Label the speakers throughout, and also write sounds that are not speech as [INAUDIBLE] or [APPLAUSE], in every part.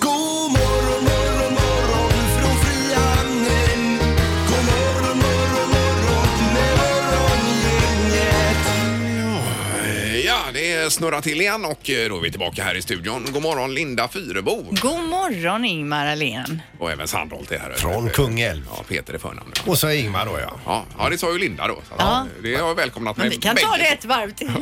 Speaker 1: God morgon morgon morgon från Frihamnen. God morgon morgon morgon med morgongänget.
Speaker 2: Eh, Ja, det snurrar till igen och eh, då är vi tillbaka här i studion. God morgon Linda Fyrebo
Speaker 3: God morgon Ingmar Ahlén.
Speaker 2: och även Sandholt är här.
Speaker 4: Från Kungälv.
Speaker 2: Ja, Peter i förnamn.
Speaker 4: Och så är Ingmar då ja.
Speaker 2: Ja, ja, det sa ju Linda då. Så att, eh,
Speaker 3: Ja.
Speaker 2: Det har jag välkomnat
Speaker 3: Men vi kan ta
Speaker 2: bägge.
Speaker 3: det ett varv till.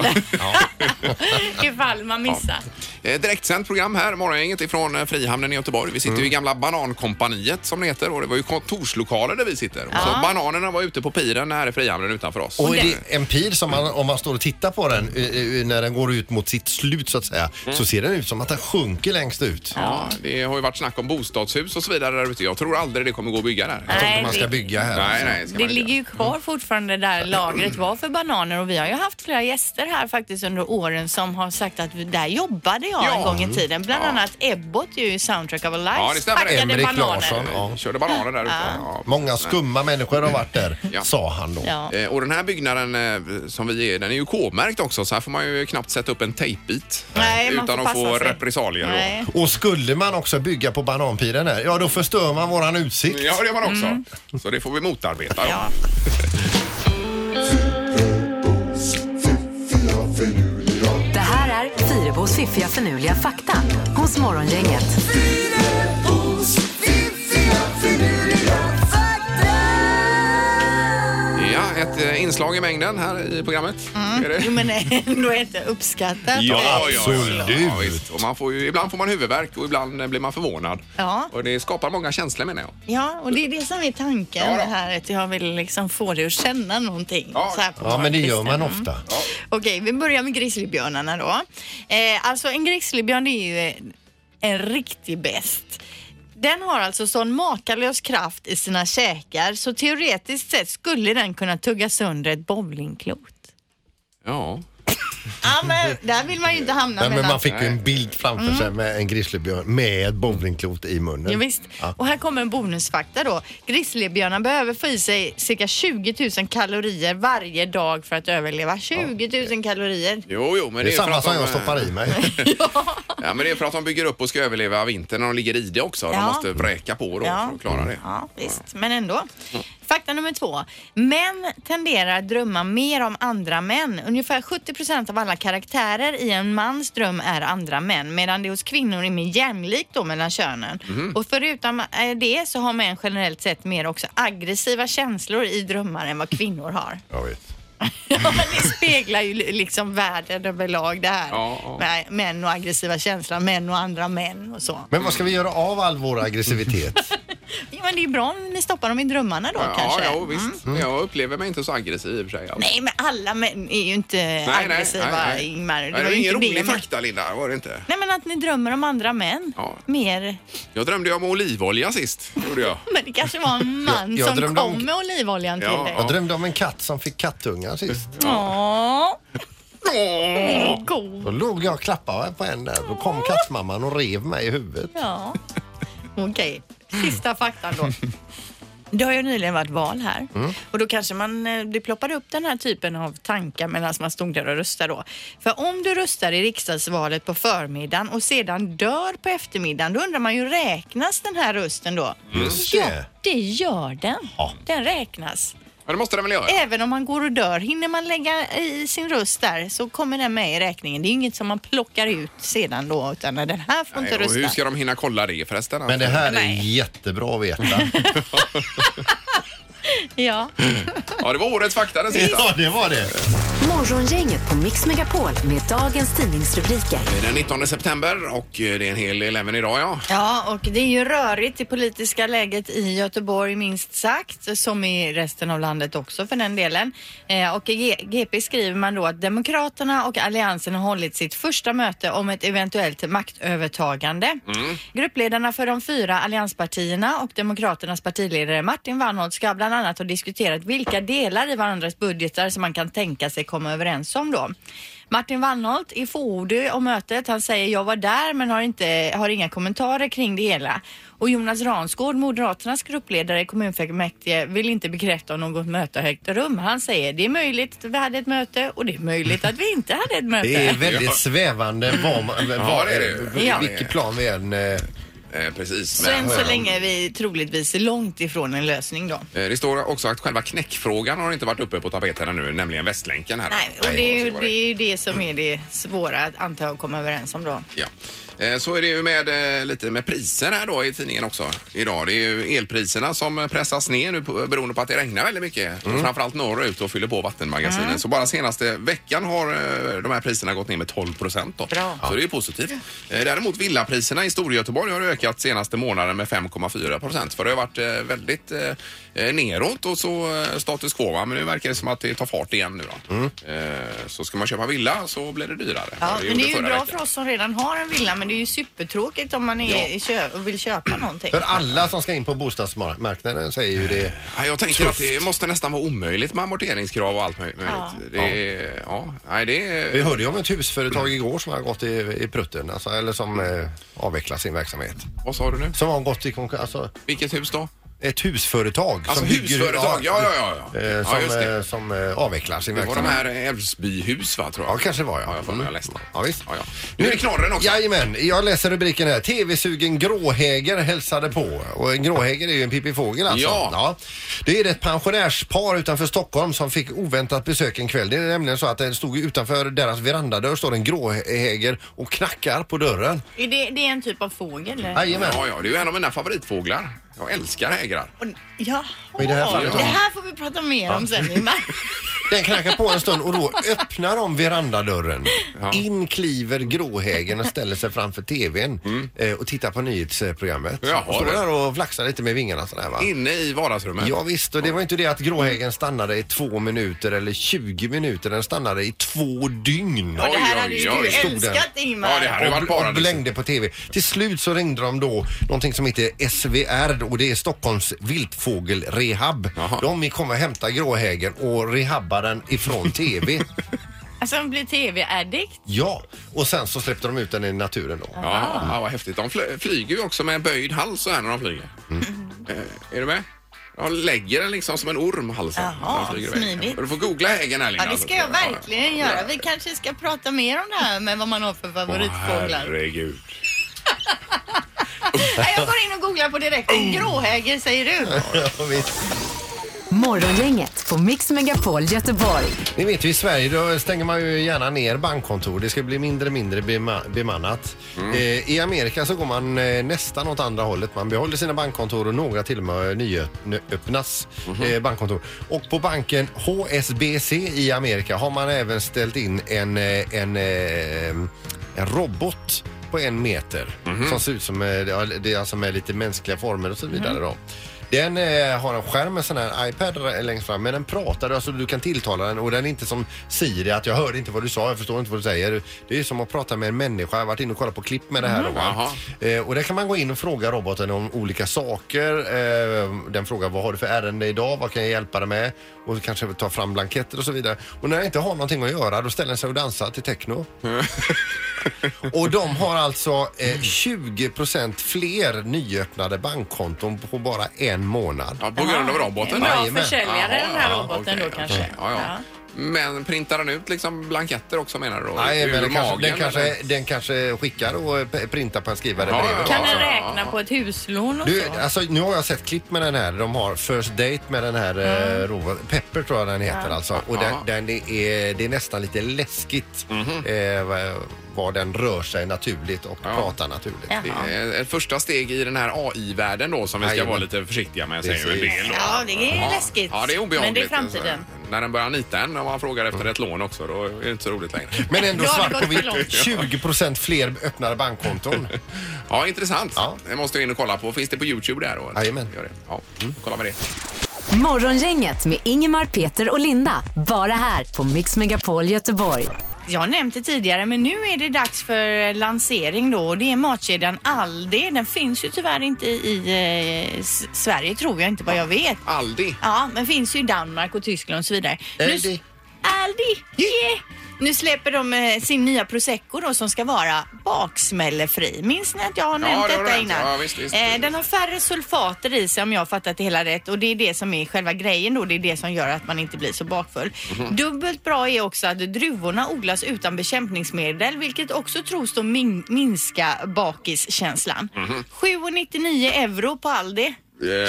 Speaker 3: [LAUGHS] Ifall man missar.
Speaker 2: Eh, Direktsänt program här, Morgongänget ifrån eh, Frihamnen i Göteborg. Vi sitter ju i gamla Banankompaniet som det heter och det var ju kontorslokaler där vi sitter. Och Så bananerna var ute på piren här i Frihamnen utanför oss.
Speaker 4: Och är det en pil som man, om man står och tittar på den eh, eh, när den går ut mot sitt slut så att säga, så ser den ut som att den sjunker längst ut.
Speaker 2: Ja, det har ju varit snack om bostadshus och så vidare där ute. Jag tror aldrig det kommer gå att bygga där.
Speaker 4: Jag tror
Speaker 3: Nej,
Speaker 4: inte man ska
Speaker 3: det-
Speaker 4: bygga här. alltså.
Speaker 2: Nej, nej. ska
Speaker 3: Det
Speaker 2: man Mm. inte
Speaker 3: ligger ju kvar fortfarande där lagret var för bananer och vi har ju haft flera gäster här faktiskt under åren som har sagt att vi- där jobbade jag
Speaker 2: Ja.
Speaker 3: en gång i tiden. Bland
Speaker 2: Ja.
Speaker 3: annat Ebbot ju i Soundtrack of Life.
Speaker 2: Ja, det stämmer.
Speaker 4: Emrik Larsson.
Speaker 2: Ja.
Speaker 4: Ja.
Speaker 2: Körde bananer där ute. Ja.
Speaker 4: Många skumma människor har varit där,
Speaker 2: Ja.
Speaker 4: sa han då.
Speaker 3: Ja.
Speaker 2: Eh, Och den här byggnaden eh, som vi är, den är ju K-märkt också så här får man ju knappt sätta upp en tejpbit.
Speaker 3: Nej, man
Speaker 2: utan
Speaker 3: får
Speaker 2: att få
Speaker 3: passa sig.
Speaker 2: repressalier. då.
Speaker 3: Nej.
Speaker 4: Och skulle man också bygga på bananpiren här, ja då förstör man våran utsikt.
Speaker 2: Ja, det gör man också. Så det får vi motarbeta. då.
Speaker 3: Mm. Ja.
Speaker 5: Det här är Fyrabos fiffiga förnuliga fakta hos Morgongänget.
Speaker 1: Fyrabos fiffiga finurliga fakta.
Speaker 2: Ja, ett eh, inslag i mängden här i programmet. Är det?
Speaker 3: Jo men ändå inte uppskattat.
Speaker 2: Ja, ja, ja, visst. och man får ju, ibland får man huvudvärk och ibland eh, blir man förvånad.
Speaker 3: Ja.
Speaker 2: Och det skapar många känslor menar jag.
Speaker 3: Ja, och det är det som är tanken
Speaker 2: Ja då.
Speaker 3: här. Att jag vill liksom få dig att känna någonting.
Speaker 2: Ja.
Speaker 3: Så här på
Speaker 4: Ja, men det gör
Speaker 3: morgonkvisten.
Speaker 4: man ofta.
Speaker 3: Okej, vi börjar med grizzlybjörnarna då. Eh, alltså en grizzlybjörn det är ju eh, en riktig bäst. Den har alltså sån makalös kraft i sina käkar så teoretiskt sett skulle den kunna tugga sönder ett bowlingklot.
Speaker 2: Ja.
Speaker 3: Ja, men där vill man ju inte hamna
Speaker 4: Nej, men
Speaker 3: mellan-
Speaker 4: man fick ju en bild framför sig med en grizzlybjörn med ett bowlingklot i munnen.
Speaker 3: Ja, visst.
Speaker 4: Ja.
Speaker 3: Och här kommer en bonusfakta då. Grizzlybjörnar behöver få i sig cirka 20 000 kalorier varje dag för att överleva. 20 000 kalorier.
Speaker 2: Jo, jo, men
Speaker 4: Det är
Speaker 2: för
Speaker 4: samma
Speaker 2: att
Speaker 4: som
Speaker 2: de,
Speaker 4: jag
Speaker 2: eh,
Speaker 4: stoppar i mig.
Speaker 2: Ja, men det är för att de bygger upp och ska överleva vintern och de ligger i det också. De
Speaker 3: Ja.
Speaker 2: måste vräka på då
Speaker 3: Ja.
Speaker 2: för att klara det.
Speaker 3: Ja, visst. Men ändå. Fakta nummer två. Män tenderar att drömma mer om andra män. Ungefär 70 procent av alla karaktärer i en mans dröm är andra män medan det hos kvinnor är mer jämlikt då mellan könen.
Speaker 2: Mhm.
Speaker 3: Och förutom eh, det så har män generellt sett mer också aggressiva känslor i drömmar än vad kvinnor har. [LAUGHS]
Speaker 4: Jag vet.
Speaker 3: Ja, men det speglar ju li- liksom världen överlag det här.
Speaker 2: Ja, ja.
Speaker 3: Med Män och aggressiva känslor, män och andra män och så.
Speaker 4: Men vad ska vi göra av all vår aggressivitet?
Speaker 3: Ja, men det är bra om ni stoppar dem i drömmarna då
Speaker 2: Ja,
Speaker 3: kanske. Mm.
Speaker 2: ja visst. Jag upplever mig inte så aggressiv i och för sig. Nej,
Speaker 3: Nej, men alla män är ju inte aggressiva, Ingmar.
Speaker 2: Nej,
Speaker 3: var
Speaker 2: det var
Speaker 3: ju
Speaker 2: ingen
Speaker 3: inte
Speaker 2: rolig
Speaker 3: men-
Speaker 2: fakta, Linda. Var det inte?
Speaker 3: Nej, men att ni drömmer om andra män.
Speaker 2: Ja.
Speaker 3: Mer. [LAUGHS]
Speaker 2: Jag drömde ju om olivolja sist. Gjorde jag.
Speaker 3: Men det kanske var en man
Speaker 4: Jag- jag
Speaker 3: som
Speaker 4: drömde om-
Speaker 3: kom med olivoljan
Speaker 2: Ja.
Speaker 3: till dig.
Speaker 4: Jag drömde om en katt som fick kattungar sist.
Speaker 3: Ja.
Speaker 2: Åh!
Speaker 3: [LAUGHS] god.
Speaker 4: Då låg jag och klappade på en där. Då kom kattmamman och rev mig i huvudet.
Speaker 3: Ja. [LAUGHS] Okej, sista faktan då. [LAUGHS] Mm. Det har ju nyligen varit val här och då kanske man, eh, det ploppade upp den här typen av tankar medan man stod där och röstade då. För om du röstar i riksdagsvalet på förmiddagen och sedan dör på eftermiddagen, då undrar man ju räknas den här rösten då?
Speaker 4: Just
Speaker 3: ja,
Speaker 4: det.
Speaker 3: det gör den.
Speaker 4: Ja.
Speaker 3: Den räknas.
Speaker 2: Ja, det måste den väl göra?
Speaker 3: Även om man går och dör, hinner man lägga i sin röst där så kommer den med i räkningen. Det är ju inget som man plockar ut sedan då, utan den här får inte
Speaker 2: Nej, och
Speaker 3: rösta.
Speaker 2: hur ska de hinna kolla det förresten?
Speaker 4: Men det här är
Speaker 3: Nej.
Speaker 4: jättebra att veta.
Speaker 3: Ja.
Speaker 2: alltså? Ja, det var årets fakta den sista.
Speaker 4: Ja, det var det.
Speaker 5: Morgongänget på Mix Megapol med dagens tidningsrubriker.
Speaker 2: Det är Den 19 september och eh, det är en hel del även idag ja.
Speaker 3: Ja, och det är ju rörigt det politiska läget i Göteborg minst sagt, som i resten av landet också för den delen. Eh, och i G- GP skriver man då att Demokraterna och Alliansen har hållit sitt första möte om ett eventuellt maktövertagande. Gruppledarna för de fyra allianspartierna och Demokraternas partiledare Martin Wannholt ska bland annat annat har diskuterat vilka delar i varandras budgetar som man kan tänka sig komma överens om då. Martin Wannholt är fåordig om mötet. Han säger jag var där men har, inte, har inga kommentarer kring det hela. Och Jonas Ransgård, Moderaternas gruppledare i kommunfullmäktige, vill inte bekräfta om något möte har ägt rum. Han säger det är möjligt att vi hade ett möte och det är möjligt att vi inte hade ett möte.
Speaker 4: [LAUGHS] Det är väldigt svävande var, man- var, eh,
Speaker 2: det är det.
Speaker 3: Ja.
Speaker 4: vilket plan vi än... eh,
Speaker 2: Eh, precis.
Speaker 3: Så
Speaker 2: Men,
Speaker 3: än så länge är vi troligtvis långt ifrån en lösning då.
Speaker 2: eh, det står också att själva knäckfrågan har inte varit uppe på tapeten ännu, nämligen Västlänken. Här.
Speaker 3: Nej, och det är, ju,
Speaker 2: så var
Speaker 3: det är ju det som är det svåra att anta och komma överens om då.
Speaker 2: Ja. Eh, Så är det ju med eh, lite med priser här då i tidningen också idag. Det är ju elpriserna som pressas ner nu på- beroende på att det regnar väldigt mycket.
Speaker 3: Mm.
Speaker 2: Framförallt norrut och fyller på vattenmagasinen. Så bara senaste veckan har eh, de här priserna gått ner med 12 procent. då.
Speaker 3: Bra.
Speaker 2: Så det är ju positivt. Eh, Däremot villapriserna i Storgöteborg har ökat senaste månaden med 5,4 procent. För det har varit eh, väldigt eh, eh, neråt och så eh, status quo. va? Men nu verkar det som att det tar fart igen nu då. Eh, Så ska man köpa villa så blir det dyrare.
Speaker 3: Mm. Ja,
Speaker 2: Och
Speaker 3: men
Speaker 2: gjorde
Speaker 3: det är ju
Speaker 2: förra
Speaker 3: bra
Speaker 2: veckan.
Speaker 3: för oss som redan har en villa men det är ju supertråkigt om man är, kö- och vill köpa någonting.
Speaker 4: För alla som ska in på bostadsmarknaden säger ju det.
Speaker 2: Ja, jag tänker att det måste nästan vara omöjligt med amorteringskrav och allt möjligt.
Speaker 3: Ja.
Speaker 2: Det, är- ja. Nej, det
Speaker 4: Vi
Speaker 2: är...
Speaker 4: hörde ju om ett husföretag igår som har gått i, i prutten, alltså, eller som eh, avvecklar sin verksamhet.
Speaker 2: Vad sa du nu?
Speaker 4: Som har gått i konkurs, alltså
Speaker 2: Vilket hus då?
Speaker 4: ett husföretag.
Speaker 2: Alltså
Speaker 4: som bygger-
Speaker 2: husföretag, ja, ja, ja, ja.
Speaker 4: Eh,
Speaker 2: Ja,
Speaker 4: Som,
Speaker 2: just det.
Speaker 4: eh, som eh, avvecklar sin
Speaker 2: Det var de
Speaker 4: verksamhet.
Speaker 2: här Älvsbyhus va, tror jag?
Speaker 4: Ja, kanske det var
Speaker 2: Ja, jag får
Speaker 4: Mm.
Speaker 2: jag läste.
Speaker 4: Ja, visst.
Speaker 2: Ja, ja. Nu är det knorren också.
Speaker 4: Jajamän, jag läser rubriken här. TV-sugen gråhäger hälsade på. Och en gråhäger är ju en pippifågel alltså.
Speaker 2: Ja.
Speaker 4: Det är ett pensionärspar utanför Stockholm som fick oväntat besök en kväll. Det är nämligen så att det stod ju utanför deras verandadörr står en gråhäger och knackar på dörren.
Speaker 3: Är det, det är en typ av fågel? eller?
Speaker 4: Jajamän.
Speaker 2: Ja, ja, det är ju en av mina favoritfåglar. Jag älskar hägrar.
Speaker 3: Och- Jaha,
Speaker 4: Och i det här fallet-
Speaker 3: det här får vi prata mer om sen Ingmar.
Speaker 4: Den knackar på en stund och då öppnar de verandadörren. In kliver gråhägern och ställer sig framför TVn eh, och tittar på nyhetsprogrammet.
Speaker 2: Mm. Jaha,
Speaker 4: och står
Speaker 2: det.
Speaker 4: där och flaxar lite med vingarna sådär va.
Speaker 2: Inne i vardagsrummet.
Speaker 4: Ja, visst, och det var inte det att gråhägern stannade i två minuter eller 20 minuter. Den stannade i två dygn.
Speaker 3: Och det här hade
Speaker 2: oj,
Speaker 3: ju
Speaker 2: oj.
Speaker 3: du
Speaker 4: Stod den.
Speaker 3: älskat Ingmar.
Speaker 2: Ja, det här- hade varit
Speaker 4: och,
Speaker 2: bara
Speaker 4: och blängde på TV. Till slut så ringde de då någonting som heter SVR och det är Stockholms viltfågelrehab.
Speaker 2: Jaha.
Speaker 4: De vill komma och hämta gråhägern och rehabba den ifrån TV.
Speaker 3: Alltså han blir tv-addict.
Speaker 4: ja, och sen så släppte de ut den i naturen då.
Speaker 2: Ja, ja, vad häftigt. De fly- flyger ju också med en böjd hals så här när de flyger.
Speaker 4: Mm.
Speaker 2: Eh, är du med? De lägger den liksom som en orm halsen. när
Speaker 3: Jaha,
Speaker 2: de flyger iväg.
Speaker 3: smidigt.
Speaker 2: Du får googla hägen här
Speaker 3: Ja,
Speaker 2: Linda.
Speaker 3: det ska jag verkligen göra. Vi kanske ska prata mer om det här med vad man har för favoritfåglar.
Speaker 2: herregud.
Speaker 3: Nej, jag går in och googlar på direkt.
Speaker 2: Oh.
Speaker 3: Gråhäger säger du.
Speaker 5: Morgongänget på Mix Megapol Göteborg.
Speaker 4: Ni vet ju i Sverige då stänger man ju gärna ner bankkontor. Det ska bli mindre och mindre bema- bemannat. Eh, I Amerika så går man eh, nästan åt andra hållet. Man behåller sina bankkontor och några till och med nyöppnas eh, bankkontor. Och på banken HSBC i Amerika har man även ställt in en, eh, en, eh, en robot på en meter som ser ut som eh, ja, det är alltså med lite mänskliga former och så vidare. Då. Den eh, har en skärm med sån här iPad r- längst fram men den pratar alltså du kan tilltala den och den är inte som Siri att jag hörde inte vad du sa, jag förstår inte vad du säger. Det är som att prata med en människa. Jag har varit inne och kollat på klipp med det här. då, va? Eh, och där kan man gå in och fråga roboten om olika saker. Eh, den frågar vad har du för ärende idag, vad kan jag hjälpa dig med? Och kanske ta fram blanketter och så vidare. Och när den inte har någonting att göra då ställer den sig och dansar till techno. Och de har alltså eh, 20 fler nyöppnade bankkonton på bara en månad.
Speaker 2: Ja, på grund av roboten.
Speaker 3: Bra
Speaker 2: där.
Speaker 4: Jajamän.
Speaker 3: försäljare
Speaker 2: Jaha,
Speaker 3: den här
Speaker 2: ja,
Speaker 3: roboten
Speaker 2: okej,
Speaker 3: då
Speaker 2: okej.
Speaker 3: kanske.
Speaker 2: Ja, ja. Men printar den ut liksom blanketter också menar du? då?
Speaker 4: Nej,
Speaker 2: Ur
Speaker 4: men den kanske,
Speaker 2: magen,
Speaker 4: den,
Speaker 2: eller?
Speaker 4: kanske, den kanske skickar och eh, p- printar på en skrivare
Speaker 2: Ja, ja,
Speaker 4: bredvid.
Speaker 2: ja.
Speaker 3: Kan den
Speaker 2: ja,
Speaker 3: räkna
Speaker 2: ja.
Speaker 3: på ett huslån och
Speaker 4: Du,
Speaker 3: så?
Speaker 4: alltså, nu har jag sett klipp med den här. De har First Date med den här eh,
Speaker 3: Mm.
Speaker 4: roboten. Pepper tror jag den heter alltså. Och den,
Speaker 2: Ja.
Speaker 4: den är, det är nästan lite läskigt
Speaker 2: Mhm.
Speaker 4: eh, vad- vad den rör sig naturligt och pratar naturligt.
Speaker 3: Ja.
Speaker 2: Det är ett första steg i den här AI-världen då som vi ska
Speaker 4: Jajamän.
Speaker 2: vara lite försiktiga med. Säger ju en
Speaker 4: Precis.
Speaker 2: del då.
Speaker 3: Ja, det är läskigt.
Speaker 2: Ja, det är
Speaker 3: Men
Speaker 2: obehagligt.
Speaker 3: det är framtiden.
Speaker 2: Alltså, När den börjar nita en och man frågar efter ett lån också, då är det inte så roligt längre.
Speaker 4: Men ändå
Speaker 3: Då har det
Speaker 4: svart på
Speaker 3: gått för långt.
Speaker 4: vitt. 20 fler
Speaker 2: [LAUGHS]
Speaker 4: öppnade bankkonton.
Speaker 2: Ja, intressant.
Speaker 4: Ja.
Speaker 2: Det måste jag in och kolla på. Finns det på Youtube där? då?
Speaker 4: Jajamän.
Speaker 2: Gör det. Ja, kolla med det.
Speaker 5: Morgongänget med Ingemar, Peter och Linda. Bara här på Mix Megapol Göteborg.
Speaker 3: Jag har nämnt det tidigare men nu är det dags för lansering då och det är matkedjan Aldi. Den finns ju tyvärr inte i eh, S- Sverige tror jag inte vad jag vet.
Speaker 2: Aldi.
Speaker 3: Ja, men finns ju i Danmark och Tyskland och så vidare.
Speaker 4: Aldi.
Speaker 3: Aldi! Yeah. Nu släpper de eh, sin nya prosecco då som ska vara baksmällefri. Minns ni att jag har nämnt
Speaker 2: det har du
Speaker 3: detta
Speaker 2: nämnt.
Speaker 3: innan?
Speaker 2: Ja, visst, visst.
Speaker 3: Eh, den har färre sulfater i sig om jag har fattat det hela rätt och det är det som är själva grejen då. Det är det som gör att man inte blir så bakfull.
Speaker 2: Mhm.
Speaker 3: Dubbelt bra är också att druvorna odlas utan bekämpningsmedel vilket också tros då min- minska bakiskänslan.
Speaker 2: Mhm.
Speaker 3: 7,99 euro på Aldi.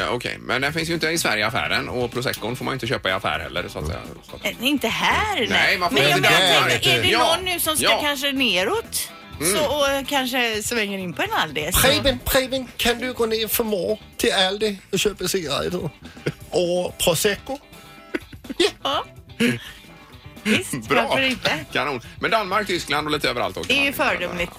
Speaker 2: Eh, Okej, men den finns ju inte i Sverige i affären och proseccon får man ju inte köpa i affär heller så att säga. Så att-
Speaker 3: Eh, Inte här,
Speaker 2: Nej, man får
Speaker 3: Men
Speaker 2: inte
Speaker 3: jag menar,
Speaker 4: där,
Speaker 3: tänk,
Speaker 4: vet du.
Speaker 3: är det
Speaker 2: Ja,
Speaker 3: någon nu som ska
Speaker 2: ja. Mm.
Speaker 3: kanske neråt så, och eh, kanske svänger in på en Aldi? Så.
Speaker 4: Preben, Preben, kan du gå ner för mor till Aldi och köpa cigaretter? Och prosecco?
Speaker 3: Ja.
Speaker 2: [LAUGHS]
Speaker 3: Visst,
Speaker 2: Bra!
Speaker 3: varför inte?
Speaker 2: Kanon. Men Danmark, Tyskland och lite överallt också.
Speaker 3: Det är ju fördumligt.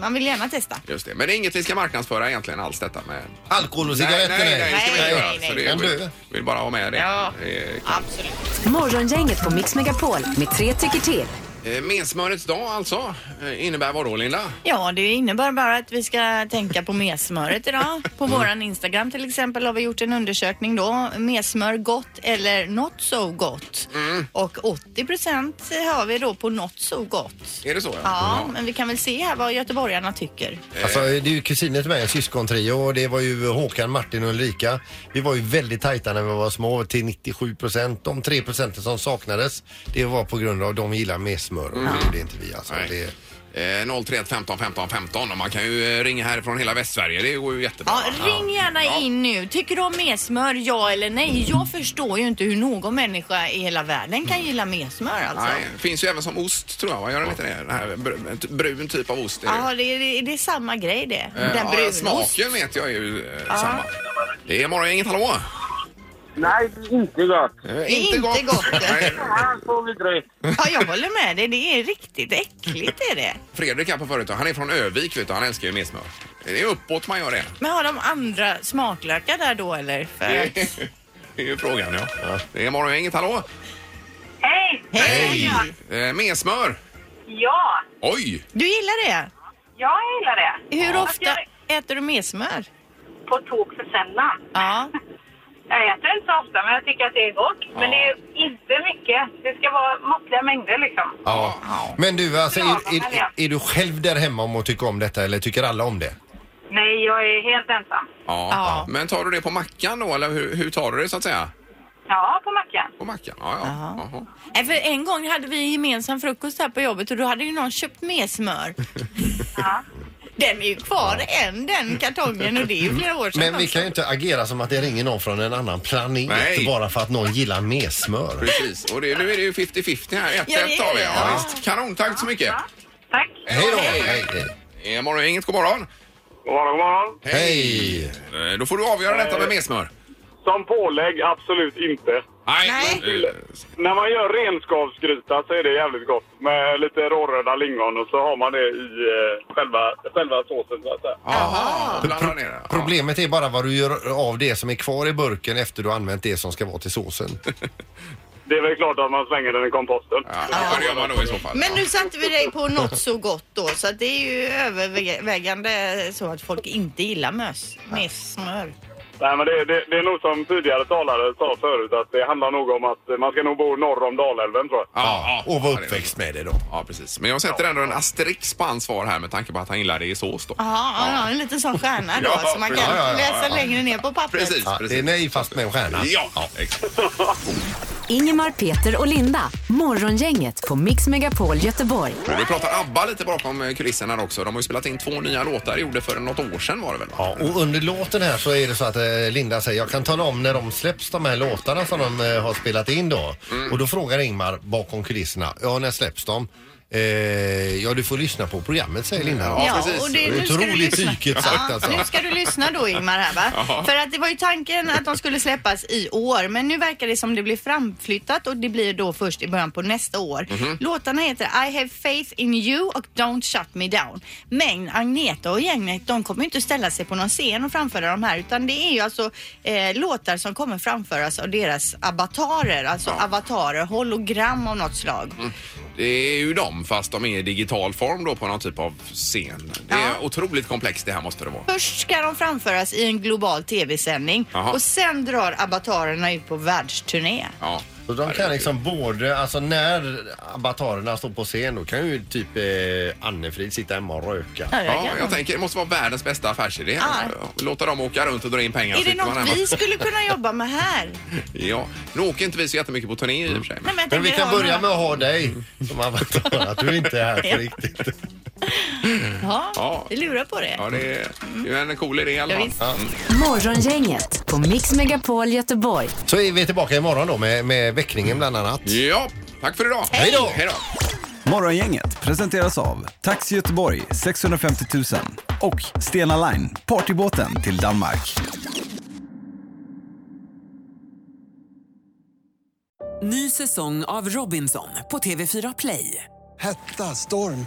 Speaker 3: Man vill gärna testa.
Speaker 2: Just det. Men det är inget vi ska marknadsföra egentligen alls detta med...
Speaker 4: Alkohol och
Speaker 2: Nej, nej,
Speaker 4: cigaretter?
Speaker 2: nej, det ska vi inte
Speaker 3: Nej,
Speaker 2: göra.
Speaker 3: nej, nej.
Speaker 2: Så det är,
Speaker 4: Men
Speaker 2: vill,
Speaker 4: du-
Speaker 2: vill bara ha med det.
Speaker 3: Ja.
Speaker 2: Eh,
Speaker 3: Absolut.
Speaker 5: Morgongänget på Mix Megapol med tre tycker till.
Speaker 2: Eh, Mensmörets dag alltså eh, innebär vad då Linda?
Speaker 3: Ja, det innebär bara att vi ska tänka på messmöret idag. På
Speaker 2: Mm.
Speaker 3: våran Instagram till exempel har vi gjort en undersökning då. Messmör gott eller not so gott.
Speaker 2: Mm.
Speaker 3: Och 80 procent har vi då på not so gott.
Speaker 2: Är det så?
Speaker 3: Ja, men vi kan väl se här vad göteborgarna tycker.
Speaker 4: Alltså, det är ju kusiner till mig, en syskontrio och det var ju Håkan, Martin och Ulrika. Vi var ju väldigt tajta när vi var små, till 97 procent. De 3 procenten som saknades, det var på grund av att de gillar mer smör och det gjorde inte vi. Alltså,
Speaker 2: Nej.
Speaker 4: det,
Speaker 2: Eh, 031 15 15 15 och man kan ju eh, ringa härifrån hela Västsverige. Det går ju jättebra.
Speaker 3: Ja, ring gärna
Speaker 2: Ja.
Speaker 3: in nu. Tycker du om messmör, ja eller nej? Jag förstår ju inte hur någon människa i hela världen kan gilla messmör alltså.
Speaker 2: Nej, finns ju även som ost tror jag. Vad gör den inte det? Den här br- brun typ av ost. Är det.
Speaker 3: Ja, det är, det är samma grej det.
Speaker 2: Eh,
Speaker 3: Den
Speaker 2: ja,
Speaker 3: brunost.
Speaker 2: Smaken vet jag är ju eh, samma. Det är morgon, inget hallå?
Speaker 6: Nej, det är inte gott.
Speaker 2: Eh,
Speaker 3: är inte gott.
Speaker 2: [LAUGHS] Nej,
Speaker 6: Han får vi dryck.
Speaker 3: Ja, jag håller med dig. Det är riktigt äckligt är det.
Speaker 2: Fredrik här på förut, han är från Övik vet du, han älskar ju messmör. Det är uppåt man gör det.
Speaker 3: Men har de andra smaklökar där då eller? För... att-
Speaker 2: [LAUGHS] Det är ju frågan ja. Det är morgon, inget hallå?
Speaker 7: Hej!
Speaker 3: Hej!
Speaker 2: Eh, messmör?
Speaker 7: Ja,
Speaker 2: Oj!
Speaker 3: Du gillar det?
Speaker 7: jag gillar det.
Speaker 3: Hur
Speaker 7: Fast
Speaker 3: ofta
Speaker 7: jag
Speaker 3: äter du messmör?
Speaker 7: är På tok för sällan.
Speaker 3: Ja.
Speaker 7: Jag äter inte så ofta, men jag tycker att det är gott. Men det är inte mycket. Det ska vara måttliga mängder liksom.
Speaker 4: ja. Men du, alltså,
Speaker 7: Ja,
Speaker 4: är, är,
Speaker 7: ja.
Speaker 4: är du själv där hemma om att tycka om detta eller tycker alla om det?
Speaker 7: Nej, jag är helt ensam.
Speaker 2: Ja.
Speaker 3: Ja.
Speaker 2: Men tar du det på mackan då eller hur, hur tar du det så att säga?
Speaker 7: Ja, på mackan.
Speaker 2: På mackan? Ja, ja.
Speaker 3: Jaha.
Speaker 2: Jaha.
Speaker 3: Nej, Eh, För en gång hade vi gemensam frukost här på jobbet och då hade ju någon köpt messmör.
Speaker 7: Ja.
Speaker 3: Den är ju kvar än den kartongen och det är ju flera år sedan.
Speaker 4: Men vi
Speaker 3: också.
Speaker 4: kan ju inte agera som att det ringer någon från en annan planet
Speaker 2: Nej.
Speaker 4: bara för att någon gillar mer smör.
Speaker 2: Precis. Och det, nu är det ju 50-50 här. 1-1
Speaker 3: Ja, det är
Speaker 2: har vi.
Speaker 3: det.
Speaker 2: Ja,
Speaker 3: Ja.
Speaker 2: visst. Kanon, tack så mycket.
Speaker 7: Tack.
Speaker 4: Hej då! Hej, hej.
Speaker 2: Eh, morgon, inget god morgon.
Speaker 6: God morgon, god morgon.
Speaker 4: hej.
Speaker 2: Eh, Då får du avgöra detta med messmör.
Speaker 6: Som pålägg, absolut inte.
Speaker 2: Nej. Eh,
Speaker 6: När man gör renskavsgryta så är det jävligt gott med lite råröda lingon och så har man det i eh, själva, själva såsen så att säga.
Speaker 2: Jaha, blanda ner det. Ja.
Speaker 4: Problemet är bara vad du gör av det som är kvar i burken efter du har använt det som ska vara till
Speaker 2: [LAUGHS]
Speaker 4: såsen.
Speaker 6: Det är väl klart att man slänger den i komposten.
Speaker 2: Ja, ja, det gör man då i så fall.
Speaker 3: Men nu satte vi dig på något så gott då så att det är ju övervägande så att folk inte gillar möss. Messmör.
Speaker 6: Nej, men det, det, det är nog som tidigare talare sa förut att det handlar nog om att eh, man ska nog bo norr om Dalälven tror jag.
Speaker 2: Ja, ja.
Speaker 4: Och
Speaker 2: Ja,
Speaker 4: var
Speaker 2: det är
Speaker 4: uppväxt med det då.
Speaker 2: bra. Ja, precis. Men jag sätter ändå en asterix på hans svar här med tanke på att han gillar det i sås då.
Speaker 3: Jaha, ja. ja, en liten sån stjärna då
Speaker 2: Ja,
Speaker 3: som man kan
Speaker 2: ja,
Speaker 4: ja, ja,
Speaker 3: läsa längre ner på pappret.
Speaker 2: Precis,
Speaker 4: Ja, det är
Speaker 2: precis.
Speaker 4: nej fast med en stjärna.
Speaker 2: Ja, exakt.
Speaker 5: Ingemar, Peter och Linda. Morgongänget på Mix Megapol Göteborg.
Speaker 2: Och Vi pratar ABBA lite bakom eh, kulisserna också. De har ju spelat in två nya låtar, gjorde för något år sedan var det väl?
Speaker 4: Ja, och under låten här så är det så att eh, Linda säger jag kan tala om när de släpps de här låtarna som de eh, har spelat in då.
Speaker 2: Mm.
Speaker 4: Och då frågar Ingmar bakom kulisserna, ja när släpps de? Eh, ja du får lyssna på programmet säger Linda. då.
Speaker 3: Ja,
Speaker 2: precis.
Speaker 3: och det,
Speaker 4: Det är
Speaker 3: nu ska du
Speaker 4: otroligt
Speaker 3: lyssna.
Speaker 4: psykiskt sagt, alltså.
Speaker 3: Nu ska du lyssna då Ingmar här va? För att det var ju tanken att de skulle släppas i år men nu verkar det som det blir framflyttat och det blir då först i början på nästa år.
Speaker 4: Mhm.
Speaker 3: Låtarna heter I have faith in you och Don't shut me down. Men Agneta och gänget de kommer ju inte ställa sig på någon scen och framföra de här utan det är ju alltså eh, låtar som kommer
Speaker 4: Mm.
Speaker 3: framföras av deras avatarer, alltså avatarer, hologram av något slag.
Speaker 2: Det är ju dem fast de är i digital form då på någon typ av scen. Det är otroligt komplext det här måste det vara.
Speaker 3: Först ska de framföras i en global tv-sändning
Speaker 2: Jaha.
Speaker 3: och sen drar abatarerna ut på världsturné.
Speaker 2: Ja.
Speaker 4: Så de kan liksom både, alltså när abatarerna står på scen då kan ju typ eh, Annefrid sitta hemma och röka.
Speaker 3: Ja, jag
Speaker 2: Ja,
Speaker 3: kan.
Speaker 2: jag tänker det måste vara världens bästa affärsidé.
Speaker 3: Ja.
Speaker 2: Låta dem åka runt och dra in pengar.
Speaker 3: Är det något vi skulle kunna jobba med här?
Speaker 2: Ja, nu åker inte vi så jättemycket på turné i och för sig.
Speaker 3: Nej,
Speaker 2: Men...
Speaker 3: men jag
Speaker 4: Men
Speaker 3: tänker
Speaker 4: vi kan
Speaker 3: ha
Speaker 4: börja med
Speaker 3: några-
Speaker 4: att ha dig som avatar, att du inte är här
Speaker 3: Ja.
Speaker 4: på riktigt.
Speaker 3: Ja,
Speaker 2: Ja.
Speaker 3: vi lurar på det.
Speaker 2: Ja, det är det är en cool idé i alla
Speaker 3: Ja,
Speaker 2: fall.
Speaker 3: visst.
Speaker 5: Morgongänget på Mix Megapol Göteborg.
Speaker 4: Så är vi tillbaka imorgon då med, med väckningen bland annat.
Speaker 2: Ja, tack för idag.
Speaker 4: Hej då.
Speaker 2: Hej då.
Speaker 8: Morgongänget presenteras av Taxi Göteborg 650 000 och Stena Line, partybåten till Danmark.
Speaker 9: Ny säsong av Robinson på TV4 Play.
Speaker 10: Hetta, storm,